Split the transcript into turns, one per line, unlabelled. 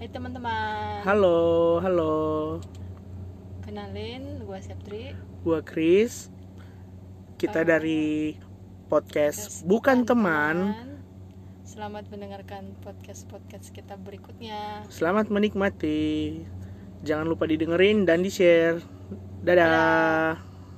Hai teman-teman.
Halo, halo.
Kenalin, gue Septri.
Gua Chris. Kita
Eh,
dari podcast Bukan Teman.
Selamat mendengarkan podcast-podcast kita berikutnya.
Selamat menikmati. Jangan lupa didengerin dan di-share. Dadah.